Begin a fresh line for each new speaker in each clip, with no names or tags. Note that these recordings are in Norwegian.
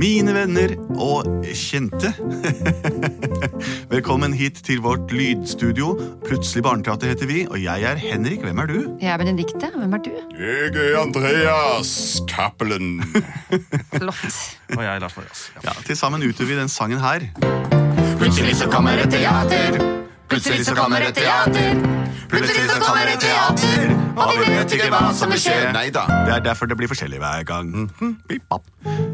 mine venner og kjente. Velkommen hit til vårt lydstudio. Plutselig barneteater heter vi, og jeg er Henrik. Hvem er du?
Jeg er Benedikte. Hvem er du?
Jeg er Andreas Cappelen.
Flott.
Og jeg er Lars Marias. Ja.
Ja, Til sammen utøver vi den sangen her.
Plutselig så kommer et teater. Plutselig så kommer et teater. Plutselig så kommer et teater. Og vi vet ikke hva som vil skje. Nei da.
Det er derfor det blir forskjellig hver gang. Pip, papp.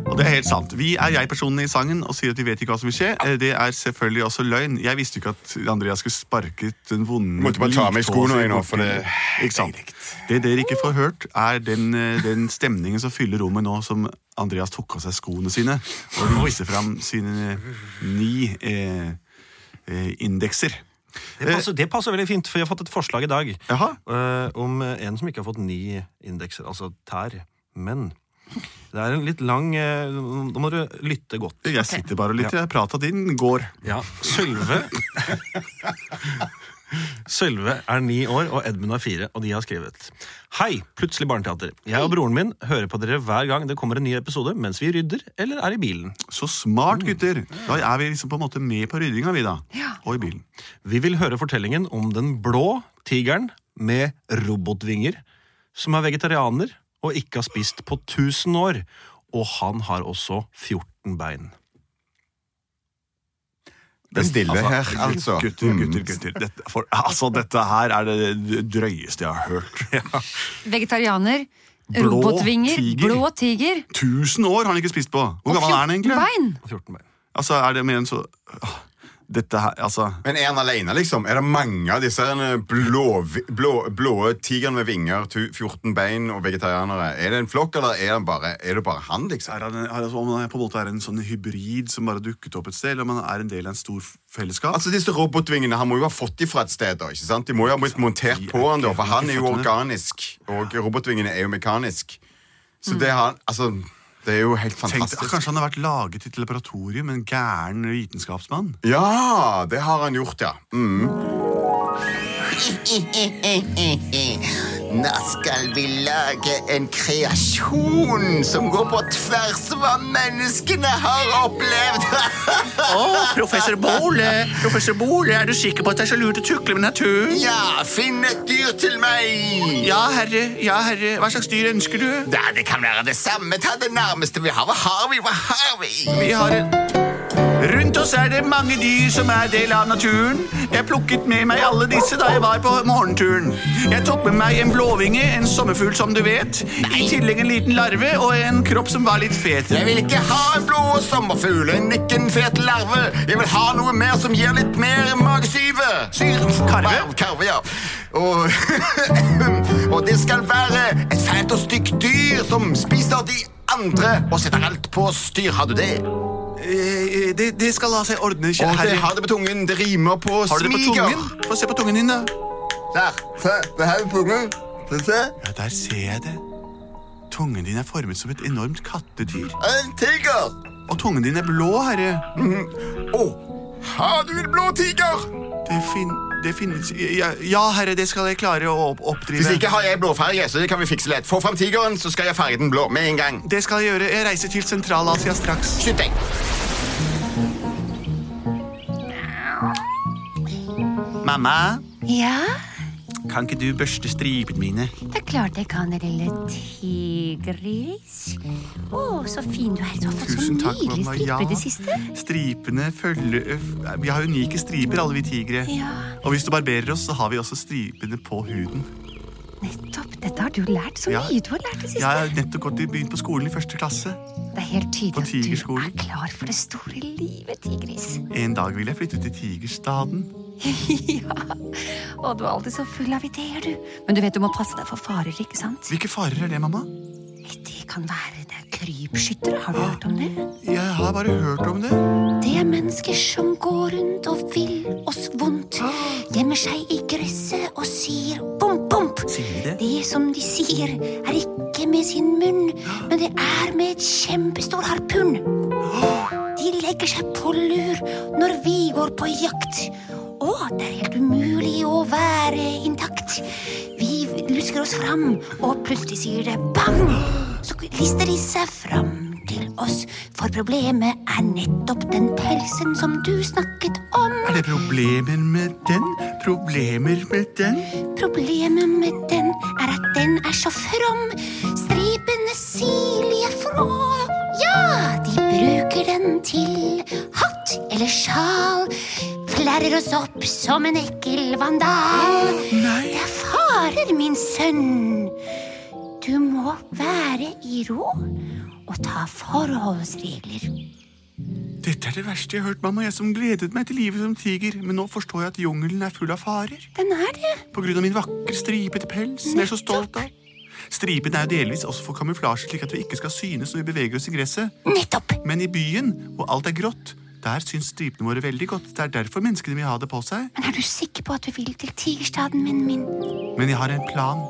Og det er helt sant. Vi er jeg-personene i sangen og sier at vi vet ikke hva som vil skje. Eh, Det er selvfølgelig også løgn. Jeg visste ikke at Andreas skulle sparket den vonde
Måtte bare ta av meg
liktåsen
skoene nå,
borti-
for det-
Ikke sant? Det dere ikke får hørt, er den, eh, den stemningen som fyller rommet nå som Andreas tok av seg skoene sine og viste fram sine ni eh, eh, indekser.
Det, passer, det passer veldig fint, for jeg har fått et forslag i dag
Jaha.
eh, om en som ikke har fått ni indekser, altså tær. Men det er en litt lang eh, Nå må dere lytte godt.
Jeg sitter bare og lytter. Prata din går.
Ja, Sølve Sølve er ni år, og Edmund er fire, og de har skrevet Hei, plutselig barneteater. Jeg og broren min hører på dere hver gang det kommer en ny episode mens vi rydder eller er i bilen.
Så smart, gutter! Da er vi liksom på en måte med på ryddinga, vi, da. Og i bilen.
Vi vil høre fortellingen om den blå tigeren med robotvinger, som er vegetarianer og ikke har spist på 1000 år. Og han har også 14 bein.
Det er stille her, altså.
Gutter, gutter, gutter. Dette, for, altså, dette her er det drøyeste jeg har hørt.
Vegetarianer.
Blå
robotvinger.
tiger.
Blå tiger.
Tusen år har han ikke spist på! Hvor
og
gammel er han
14
egentlig?
Bein.
Og 14 bein.
Altså, er det mer enn så Åh, Dette her, altså
Men er han alene, liksom? Er det mange av disse her eh, blå, blå, blå tigeren med vinger, tu- 14 bein og vegetarianere? Er det en flokk, eller er, han bare, er det bare han, liksom?
er han, er, altså, Om han på en måte er en sånn hybrid som bare dukket opp et sted, eller om han er en del av en stor f- fellesskap?
Altså, disse robotvingene, Han må jo ha fått de fra et sted. da, ikke sant? De må jo ha blitt montert på han da, for han er jo organisk. Og robotvingene er jo mekanisk. Så det har han Altså, det er jo helt
Tenk, deg,
fantastisk.
kanskje han har vært laget i et laboratorium, en gæren vitenskapsmann?
Ja, det har han gjort, ja. Mm.
Nå skal vi lage en kreasjon som går på tvers av hva menneskene har opplevd.
Professor Bole, professor Bole, er du sikker på at det er så lurt å tukle med naturen?
Ja, finn et dyr til meg!
Ja, herre, ja, herre. Hva slags dyr ønsker du?
Ja, det kan være det samme. Ta det nærmeste vi har. Hva har vi? Hva har vi?
Vi har en... Rundt oss er det mange dyr som er del av naturen. Jeg plukket med meg alle disse da jeg var på morgenturen. Jeg tok med meg en blåvinge, en sommerfugl som du vet. I tillegg en liten larve og en kropp som var litt fet.
Jeg vil ikke ha en blå sommerfugl, en nikken fet larve. Jeg vil ha noe mer som gir litt mer magesyve. Syre.
Karve?
Karve, ja. Og, og det skal være et fælt og stygt dyr som spiser de andre og setter alt på styr. Har du det?
Eh, eh, det, det skal la seg ordne, kjære
Og det
herre.
har det på tungen. Det rimer på smiger.
Har du det på tungen? Få se på tungen din, da.
Der. Se, det her er tungen. Se, se.
Ja, der ser jeg det. Tungen din er formet som et enormt kattedyr.
En tiger.
Og tungen din er blå, herre.
Å, har du en blå tiger?
Det, fin det finnes ja, ja, herre, det skal jeg klare å opp
Hvis
oppdrive.
ikke har jeg blåfarge, så det kan vi fikse lett. Få fram tigeren, så skal jeg farge den blå med en gang.
Det skal jeg gjøre. Jeg reiser til Sentral-Asia straks.
Skyt deg.
Mamma,
Ja,
kan ikke du børste stripene mine?
det er klart jeg kan det, lille tigris. Å, så fin du er. Du har fått så
Tusen takk,
nydelig
mamma.
stripe i det siste.
Stripene følger ø- Vi har unike striper, alle vi tigre.
Ja,
Og hvis du barberer oss, så har vi også stripene på huden.
nettopp. Dette har du lært. Så
Ja.
mye du har lært det
Jeg
siste.
har nettopp gått i begynt på skolen i første klasse.
Det er helt
På
tydelig at du
tigerskolen.
er klar for det store livet, tigris.
En dag vil jeg flytte til Tigerstaden.
ja. Å, du er alltid så full av ideer, du. Men du vet du må passe deg for farer, ikke sant?
Hvilke farer er det, mamma?
De kan være det er krypskyttere. Har du
Ah.
hørt om det?
Jeg har bare hørt om det.
Det er mennesker som går rundt og vil oss vondt.
Ah.
Gjemmer seg i gresset og sier bom, bom.
Sier de det?
Det som de sier, er ikke med sin munn,
Ah.
men det er med et kjempestor harpun. De legger seg på lur når vi går på jakt. Og det er helt umulig å være intakt. Vi lusker oss fram, og plutselig sier det bang! Så lister de seg fram til oss, for problemet er nettopp den pelsen som du snakket om.
Er det problemer med den? Problemer med den?
Problemet med den er at den er så from. Stripene sirlige frå. Ja, de bruker den til hatt eller sjal. Flerrer oss opp som en ekkel vandal. Det er farer, min sønn. Du må være i ro og ta forholdsregler.
Dette er det verste jeg har hørt, mamma. Jeg som gledet meg til livet som tiger. Men nå forstår jeg at jungelen er full av farer.
Den er det.
På grunn av min vakre, stripete pels, som jeg er så stolt av. Stripen er jo delvis også for kamuflasje, slik at vi ikke skal synes når vi beveger oss i gresset.
Nettopp.
Men i byen, hvor alt er grått, der syns stripene våre veldig godt. Det er derfor menneskene vil ha det på seg.
Men er du sikker på at du vil til tigerstaden, min min?
Men jeg har en plan.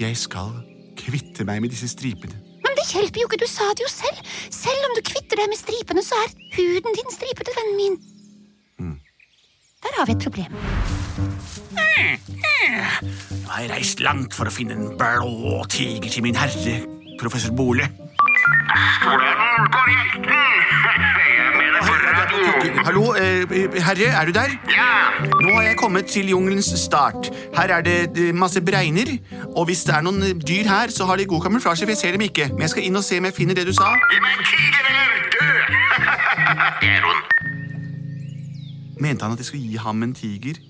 Jeg skal kvitte meg med disse stripene.
Men det hjelper jo ikke, du sa det jo selv. Selv om du kvitter deg med stripene, så er huden din stripete, vennen min.
Mm.
Der har vi et problem.
Nå har jeg reist langt for å finne en blå tiger til min herre, professor Bole.
Hvordan går jakten? Jeg mener på radio.
Hallo, eh, herre, er du der?
Ja,
Nå har jeg kommet til jungelens start. Her er det eh, masse bregner, og hvis det er noen eh, dyr her, så har de god kamuflasje, for jeg ser dem ikke. Men jeg skal inn og se om jeg finner det du sa.
men tigeren er død. Det er hun.
Mente han at jeg skulle gi ham en tiger?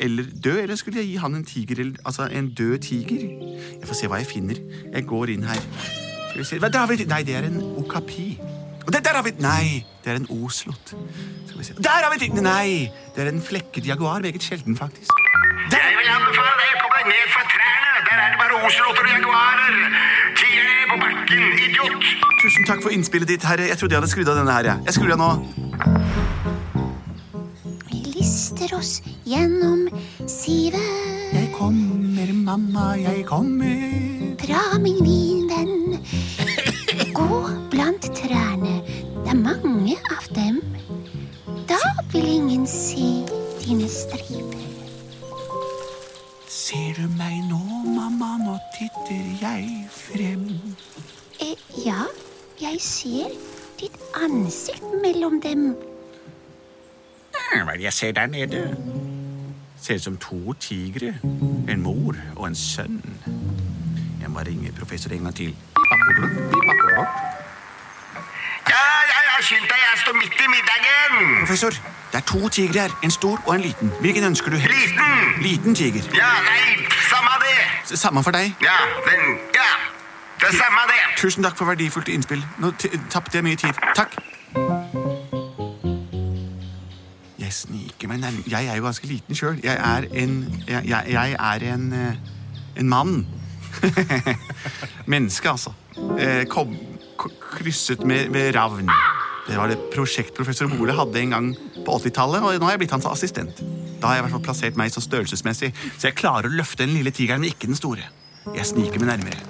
Eller død? Eller skulle jeg gi han en tiger? Eller, altså, en død tiger? Jeg får se hva jeg finner. Jeg går inn her. Skal vi se. Hva, der har vi, nei, det er en okapi. Og det, der har vi Nei, det er en oslot. Skal vi se. Der har vi ti- Nei, det er en flekket jaguar. Meget sjelden, faktisk.
Jeg vil anbefale deg å komme deg ned fra trærne. Der er det bare oselotter og jaguarer. Tigeren er på bakken, idiot.
Tusen takk for innspillet ditt, herre. Jeg trodde jeg hadde skrudd av denne her. jeg. Jeg skrur av nå.
Vi lister oss gjennom sivet.
Jeg kommer, mamma, jeg kommer.
Bra, min vinvenn. Gå blant trærne. Det er mange av dem. Da vil ingen se dine striper.
Ser du meg nå, mamma? Nå titter jeg frem.
Eh, ja, jeg ser ditt ansikt mellom dem.
Hva er det jeg ser der nede?
Ser ut som to tigre. En mor og en sønn. Jeg må ringe professor en gang til.
Ja, ja, ja, skynd deg. Jeg står midt i middagen.
Professor, det er to tigre her. En stor og en liten. Hvilken ønsker du helst?
Liten.
Liten tiger.
Ja, nei, samme det.
S- Samme for deg.
Ja, den, ja. Det er samme det.
Tusen takk for verdifullt innspill. Nå t- tapte jeg mye tid. Takk. Jeg sniker meg nærmere Jeg er jo ganske liten sjøl. Jeg er en jeg, jeg, jeg er en eh, en mann. Menneske, altså. Eh, Kom, k- krysset med, med ravn. Det var det prosjektprofessor Mole hadde en gang på 80-tallet, og nå har jeg blitt hans assistent. Da har jeg i hvert fall plassert meg så størrelsesmessig, så jeg klarer å løfte den lille tigeren, men ikke den store. Jeg sniker meg nærmere.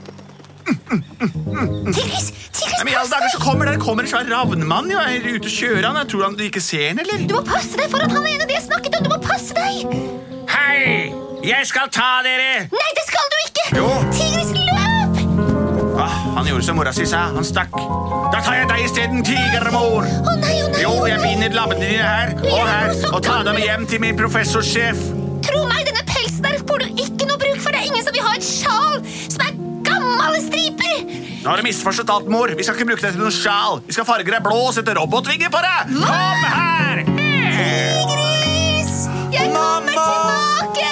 Tigris! Tigris,
Mm. Nei, men i alle dager så kommer der kommer en svær ravnemann jo, er ute og kjører han. Jeg tror han du ikke ser han, eller?
du må passe deg for at han ene det jeg snakket om! Du må passe deg!
Hei! Jeg skal ta dere!
Nei, det skal du ikke!
Jo.
Tigris, løp!
Ah, han gjorde som mora si sa. Han stakk. Da tar jeg deg isteden, tigermor.
Å nei, å nei!
Jo,
å
jeg
nei.
binder labbene dine her og her og tar dem med hjem til min professorsjef.
Tro meg, denne pelsen der får du ikke noe bruk for. Det er ingen som vil ha et sjal som er gammel i striper!
Nå har du misforstått alt, mor. Vi skal ikke bruke deg til noen sjal. Vi skal farge deg blå og sette robotvinger på deg. Kom her!
Tigris! Jeg kommer tilbake!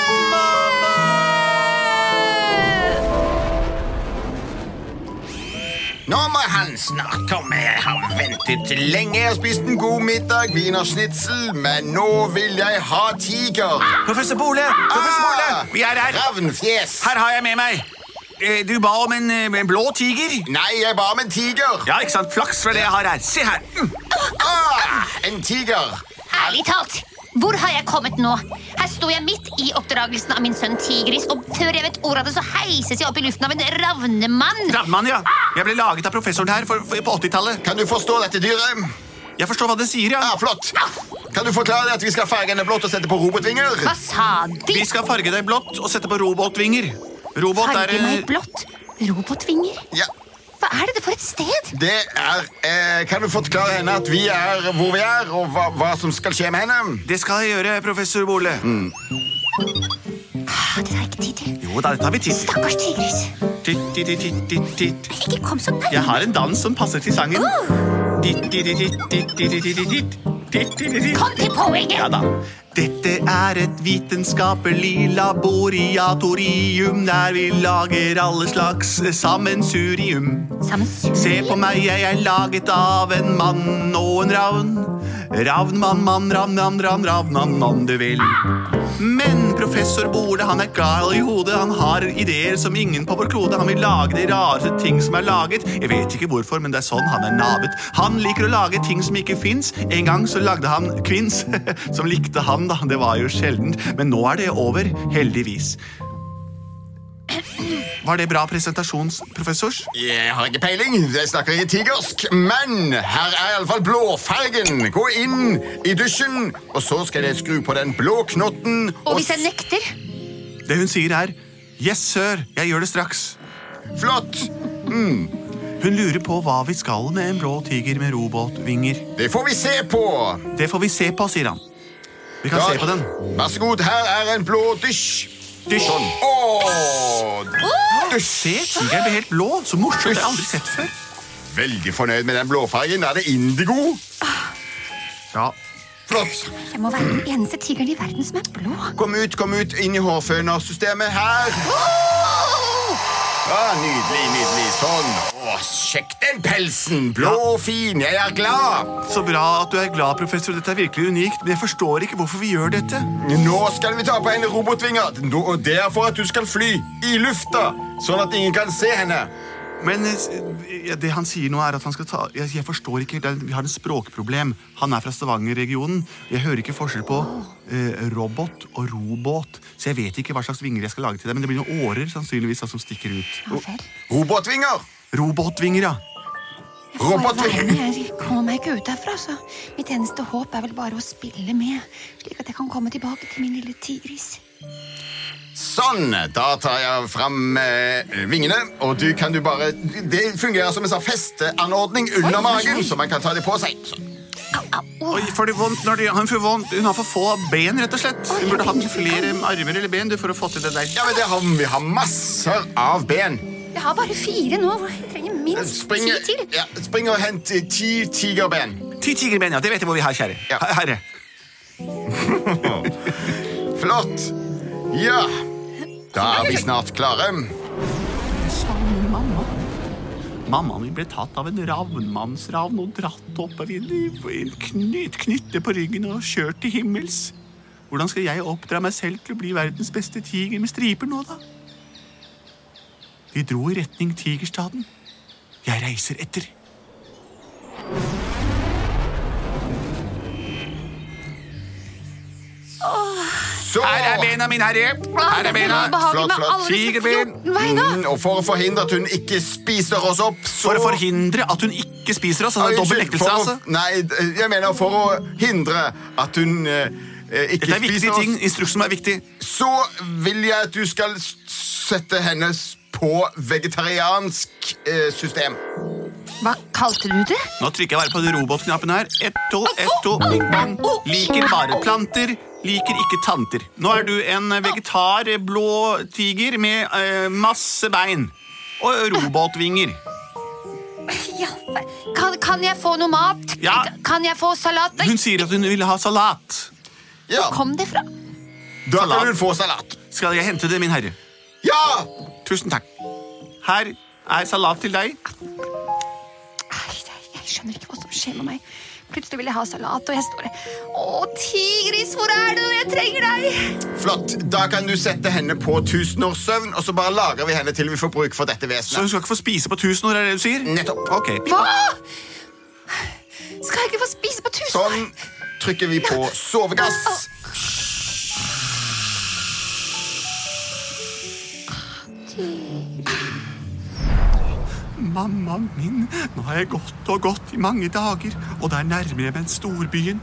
Nå må han snart komme. Jeg har ventet lenge. Jeg har spist en god middag, wienerschnitzel, men nå vil jeg ha tiger. Ah,
Professor Bole, Ah, professor Bole, vi er her.
Ravnfjes.
Her har jeg med meg. Eh, Du ba om en, eh, en blå tiger.
Nei, jeg ba om en tiger.
Ja, ikke sant? Flaks for det jeg har her. Se her. Mm.
Ah, en tiger.
Ærlig talt, hvor har jeg kommet nå? Her sto jeg midt i oppdragelsen av min sønn Tigris, og før jeg vet ordet av det, så heises jeg opp i luften av en ravnemann.
Ravnemann, ja. Jeg ble laget av professoren her for, for, på 80-tallet.
Kan du forstå dette dyret?
Jeg forstår hva det sier, ja.
Ja, flott.
Ah.
Kan du forklare det at vi skal farge henne blått og sette på robotvinger?
Ah.
Hva sa de?
Vi skal farge deg blått og sette på robotvinger. Robot er
Farge
eh,
meg blått. Robotvinger?
Ja.
Hva er dette for et sted?
Det er eh, Kan du forklare henne at vi er hvor vi er, og hva, hva som skal skje med henne?
Det skal jeg gjøre, professor Bole.
Mm. Ah, Dette har jeg ikke tid til.
Jo da, dette har vi tid til.
Stakkars tigris.
Titt, titt, titt, titt, titt, titt.
Ikke kom så
Jeg
nærme.
har en dans som passer til sangen. Titt, titt, titt, titt, titt, titt, titt, titt. Titt, titt, titt, titt.
Kom til poenget!
Ja da. Dette er et vitenskapelig laboriatorium der vi lager alle slags eh, sammensurium. Se på
Sammensurium.
meg, jeg er laget av en mann og en ravn. Ravn, mann, mann, ravn, ravn, ravn, ravn, mann, mann, du vil. Men professor Bole, han er gal i hodet. Han har ideer som ingen på vår klode. Han vil lage de rareste ting som er laget. Jeg vet ikke hvorfor, men det er sånn han er navet. Han liker å lage ting som ikke fins. En gang så lagde han kvinns, som likte han, da. Det var jo sjeldent. Men nå er det over, heldigvis. Var det bra presentasjons, professors?
Jeg har ikke peiling, jeg snakker ikke tigersk, men her er iallfall blåfargen. Gå inn i dusjen, og så skal jeg skru på den blå knotten.
Og hvis jeg nekter
Det hun sier er Yes, sir, jeg gjør det straks.
Flott!
Hun lurer på hva vi skal med en blå tiger med robåtvinger.
Det får vi se på.
Det får vi se på, sier han. Vi kan
Ja.
se på den.
Vær så god, her er en blå dysj.
Dysj.
Åh,
Se, tigeren blir helt blå. Så morsomt. Det har jeg aldri sett før.
veldig fornøyd med den blåfargen. Er det indigo?
Ja.
Flott.
Jeg må være den eneste tigeren i verden som er blå.
Kom ut, kom ut, inn i hårfønersystemet her. Ah, nydelig, nydelig. Sånn. Å, sjekk den pelsen. Blå og fin. Jeg er glad.
Så bra at du er glad, professor. Dette er virkelig unikt. Men jeg forstår ikke hvorfor vi gjør dette.
Nå skal vi ta på henne robotvinger. Nå- Og det er for at du skal fly i lufta, sånn at ingen kan se henne.
Men eh, s- eh, det han sier nå er at han skal ta Jeg, jeg forstår ikke helt. det er- Vi har et språkproblem. Han er fra Stavanger-regionen. Jeg hører ikke forskjell på eh, robot og robåt. Så jeg vet ikke hva slags vinger jeg skal lage til deg. Men det blir noen årer sannsynligvis da, som stikker ut.
Ja vel.
Robotvinger.
Robotvinger, ja.
Jeg får
Robot-
være med. Jeg kommer meg ikke ut herfra, så mitt eneste håp er vel bare å spille med, slik at jeg kan komme tilbake til min lille tigris.
Sånn. Da tar jeg fram eh, vingene, og du kan du bare Det fungerer som en sånn festeanordning
Oi,
under
oi, oi.
magen, så man kan ta det på seg. Sånn.
Au, au, au.
Oi, får det vondt når de, han får vondt. Hun har for få ben, rett og slett. Hun burde hatt flere armer eller ben du, for å få til det der.
Ja, men det har, Vi har masser av ben.
Jeg har bare fire nå. Jeg trenger minst
Spring,
ti til.
ja, spring og hent eh, ti tigerben.
Ti tigerben, ja. Det vet jeg hvor vi har, kjære.
Ja.
Her- Herre.
Flott. Ja. Da er vi snart klare.
Mammaen min ble tatt av en ravnmannsravn og dratt opp av en, en knyt, knytte på ryggen og kjørt til himmels. Hvordan skal jeg oppdra meg selv til å bli verdens beste tiger med striper nå, da? De dro i retning Tigerstaden. Jeg reiser etter.
Så
mine, herre.
Her er bena. Ubehagelig
Flott,
med
flott.
alle disse
Tigerben.
14 beina.
Mm, og for å forhindre at hun ikke spiser oss opp, så
For å forhindre at hun ikke spiser oss. Han
Unnskyld,
er dobbel lektelse,
for å-
altså.
Nei, d- jeg mener for å hindre at hun eh, eh, ikke
Dette er
spiser
viktige ting.
oss,
Instruksen er viktig.
så vil jeg at du skal s- sette henne s- på vegetariansk eh, system.
Hva kalte du det?
Nå trykker jeg bare på robotknappen her. Ett, to, ett, to, bing, bang. Liker bare planter, liker ikke tanter. Nå er du en vegetar eh, blå tiger med eh, masse bein. Og robotvinger.
Ja, kan, kan jeg få noe mat?
Ja.
Kan jeg få salat? Nei,
Hun sier at hun vil ha salat.
Ja,
kom det fra?
da
salat.
kan hun få salat.
Skal jeg hente det, min herre?
Ja!
Tusen takk. Her er salat til deg.
Nei, nei, Jeg skjønner ikke hva som skjer med meg. Plutselig vil jeg ha salat, og jeg står der. Å, tigris, hvor er du? Jeg trenger deg!
Flott. Da kan du sette henne på tusenårssøvn, og så bare lagrer vi henne til vi får bruk for dette
Så
vesenet.
hun skal ikke få spise på tusen år, er det det du sier?
Nettopp.
Sånn Ok.
Hva? Skal jeg ikke få spise på tusen?
Sånn trykker vi på sovegass.
Mammaen min, nå har jeg gått og gått i mange dager, og der nærmer jeg meg storbyen.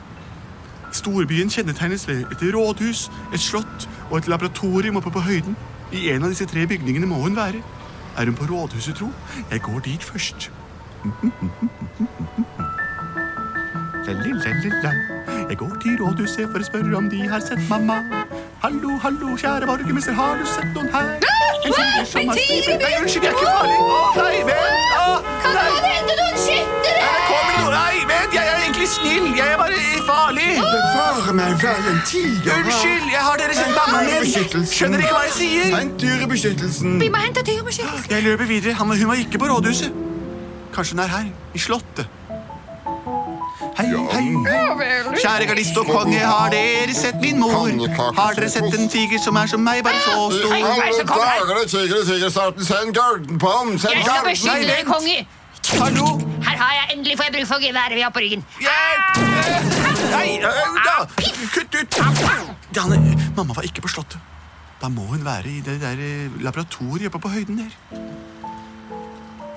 Storbyen kjennetegnes ved et rådhus, et slott og et laboratorium oppe på høyden. I en av disse tre bygningene må hun være. Er hun på rådhuset, tro? Jeg går dit først. La-li-la-li-la. Jeg går til rådhuset for å spørre om de har sett mamma. Hallo, hallo, kjære borgermester, har du sett noen her? En tiger som har snipet Nei, unnskyld, jeg er ikke farlig. Å, nei, vent! Å, nei.
hente noen skyttere?
Her kommer det noen. Nei, vent, jeg er egentlig snill. Jeg er bare farlig.
Bevare meg vel en tiger.
Unnskyld, jeg har deres mamma med.
Beskyttelsen.
Skjønner ikke hva jeg sier.
Vent, dyrebeskyttelsen.
Vi må hente dyrebeskyttelse.
Jeg løper videre. Han, hun var ikke på rådhuset. Kanskje hun er her, i slottet. Hei, hei, hei. Kjære gardist og konge, har dere sett min mor? Har dere sett en tiger som er som meg, bare så
I
stor?
alle dager, tiger, tiger, starten, send garden på ham! Send
Jeg skal
garden!
beskytte
Nei,
deg,
vent.
konge.
Hallo?
Her har jeg endelig får jeg bruk for geværet vi har på ryggen. Ah,
Hjelp! Nei, au da! Kutt ut! Janne, mamma var ikke på slottet. Da må hun være i det der eh, laboratoriet oppe på høyden der.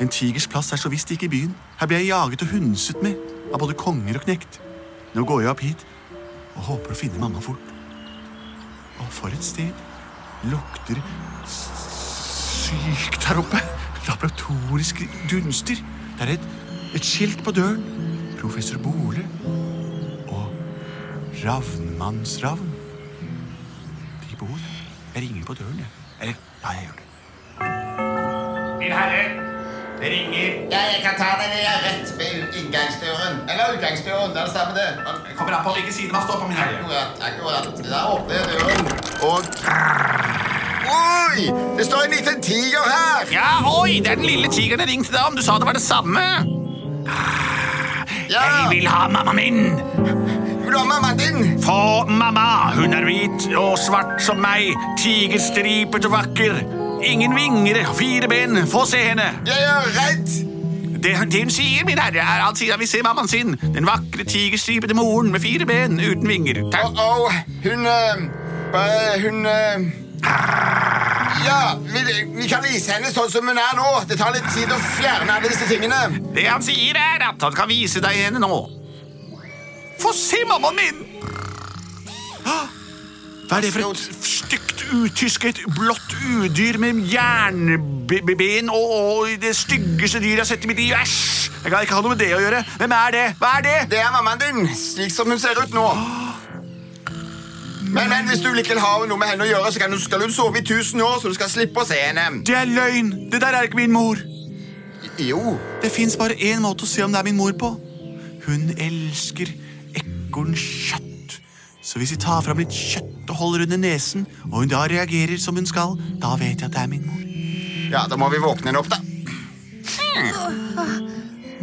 En tigers plass er så visst ikke i byen. Her ble jeg jaget og hundset med av både konger og knekt. Nå går jeg opp hit og håper å finne mamma fort. Og for et sted. Lukter s- sykt her oppe. Laboratoriske dunster. Det er et, et skilt på døren. Professor Bole og Ravnmannsravn. De bor her. Jeg ringer på døren, jeg. Eller, ja, jeg gjør det.
Min herre, det ringer.
Ja, jeg kan ta den jeg er rett ved inngangsdøren. Eller utgangsdøren, det er det samme det.
Det kommer an på hvilken side man står på, min herre.
Akkurat, akkurat. Da åpner jeg døren, og... Oi, det står en liten tiger her!
Ja, oi, det er den lille tigeren jeg ringte deg om. Du sa det var det samme.
Ja,
Jeg vil ha mamma min.
vil du ha mammaen din?
Få mamma. Hun er hvit og svart som meg. Tigerstripet og vakker. Ingen vinger, fire ben. Få se henne.
Jeg er redd!
Det, det hun sier, min herre, er at han vil se mammaen sin. Den vakre tigerstripete moren med fire ben uten vinger. Takk.
Åh, hun... eh, bare, hun... eh, ja, vi, vi kan vise henne sånn som hun er nå. Det tar litt tid å fjerne alle disse tingene.
Det han sier, er at han skal vise deg henne nå. Få se mammaen min! Hå! Hva er det for et stygt, utysket, blått udyr med jernben og, og det styggeste dyret jeg har sett i mitt liv? Æsj! Jeg kan ikke ha noe med det å gjøre. Hvem er det? Hva er det?
Det er mammaen din, slik som hun ser ut nå. Men, men hvis du ikke vil ha noe med henne å gjøre, så kan hun, skal hun sove i tusen år, så du skal slippe å se henne.
Det er løgn! Det der er ikke min mor.
Jo.
Det fins bare én måte å se om det er min mor på. Hun elsker ekornkjøtt. Så hvis vi tar fram litt kjøtt og holder under nesen, og hun da reagerer som hun skal, da vet jeg at det er min mor.
Ja, da må vi våkne henne opp, da.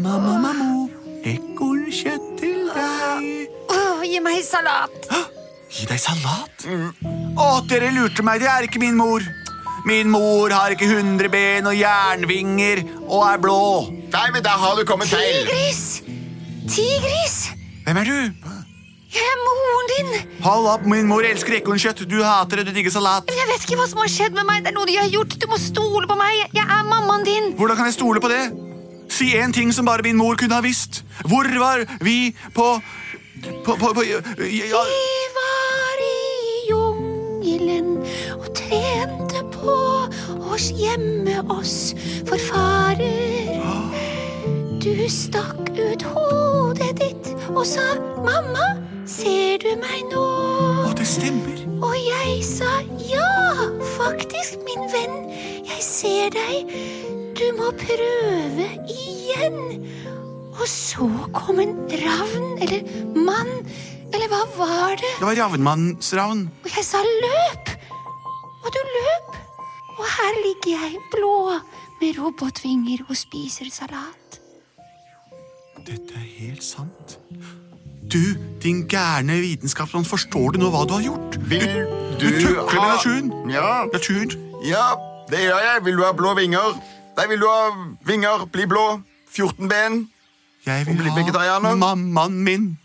Mamma, mammo, ekornkjøtt til deg.
Åh, gi meg salat.
Gi deg salat? Å, dere lurte meg. Det er ikke min mor. Min mor har ikke hundre ben og jernvinger og er blå.
Nei, men der har du kommet feil.
Tigris! Tigris!
Hvem er du?
Jeg er moren din.
Hold opp, min mor elsker ekornkjøtt. Du hater det, du digger salat.
Men jeg vet ikke hva som har skjedd med meg. Det er noe de har gjort. Du må stole på meg. Jeg er mammaen din.
Hvordan kan jeg stole på det? Si én ting som bare min mor kunne ha visst. Hvor var vi på På, på, på ja, ja,
Vi var i jungelen og trente på å gjemme oss for farer. Du stakk ut hodet ditt og sa 'mamma, ser du meg nå?'
Å, det stemmer.
Og jeg sa 'ja, faktisk, min venn, jeg ser deg. Du må prøve igjen'. Og så kom en ravn, eller mann, eller hva var det?
Det var Ravnmannsravn.
Og jeg sa løp! Og du løp. Og her ligger jeg blå med robotvinger og spiser salat.
Dette er helt sant. Du, din gærne vitenskapsmann, forstår du nå hva du har gjort?
Vil du
Du tukler med
ha-
naturen.
Ja,
Natur.
ja, det gjør jeg. Vil du ha blå vinger? Nei, vil du ha vinger? Bli blå. 14 ben.
Jeg
Hun
vil
blir
ha
vegetarianer.
mammaen min.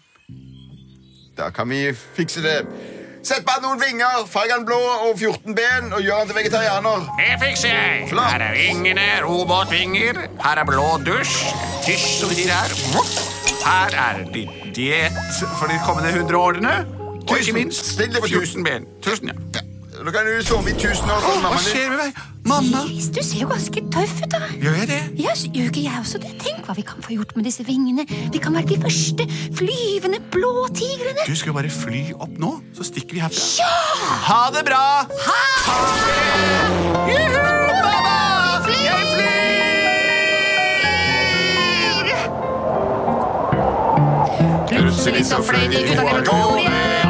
Da kan vi fikse det. Sett bare noen vinger, farg han blå og 14 ben, og gjør han til vegetarianer.
Det fikser jeg. Her er vingene, robotvinger. Her er blå dusj. Tysj, som de sier her. Vopp. Her er litt diett for de kommende 100 årene. Og
Tusen.
ikke minst
Stille for
14 ben. Tusen, ja.
Ja,
Nå kan du sove i tusen år
Å,
sånn,
hva
mamma.
skjer med meg? Mamma!
Iris, du ser jo ganske tøff ut, da.
Gjør jeg det?
Ja, så gjør ikke jeg også det? Tenk hva vi kan få gjort med disse vingene. Vi kan være de første flyvende blå tigrene.
Du skal jo bare fly opp nå, så stikker vi herfra.
Ha det bra!
Plutselig så fløy de ut av laboratoriet.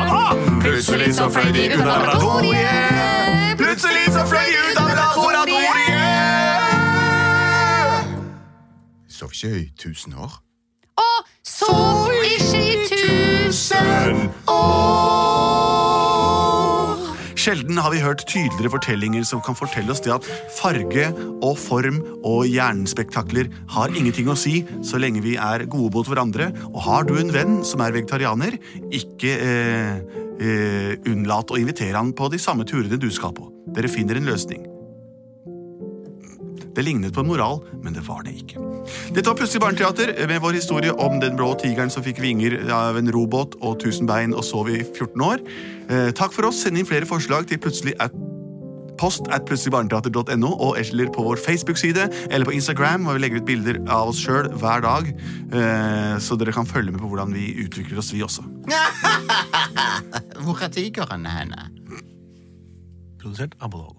Plutselig så fløy de ut av laboratoriet. Plutselig så fløy de ut av laboratoriet. Sov ikke i tusen år.
Og sov ikke i tusen
Sjelden har vi hørt tydeligere fortellinger som kan fortelle oss det at farge og form og hjernespektakler har ingenting å si så lenge vi er gode mot hverandre. Og har du en venn som er vegetarianer, ikke eh, eh, unnlat å invitere han på de samme turene du skal på. Dere finner en løsning. Det lignet på en moral, men det var det ikke. Dette var Plutselig barneteater eh, med vår historie om den blå tigeren som fikk vinger av en robåt og tusen bein og sov i 14 år. Eh, takk for oss. Send inn flere forslag til plutselig at post at plutseligbarneteater.no og eller på vår Facebook-side eller på Instagram, hvor vi legger ut bilder av oss sjøl hver dag, eh, så dere kan følge med på hvordan vi utvikler oss, vi også.
Hvor er tigeren henne?
Produsert av Bolog.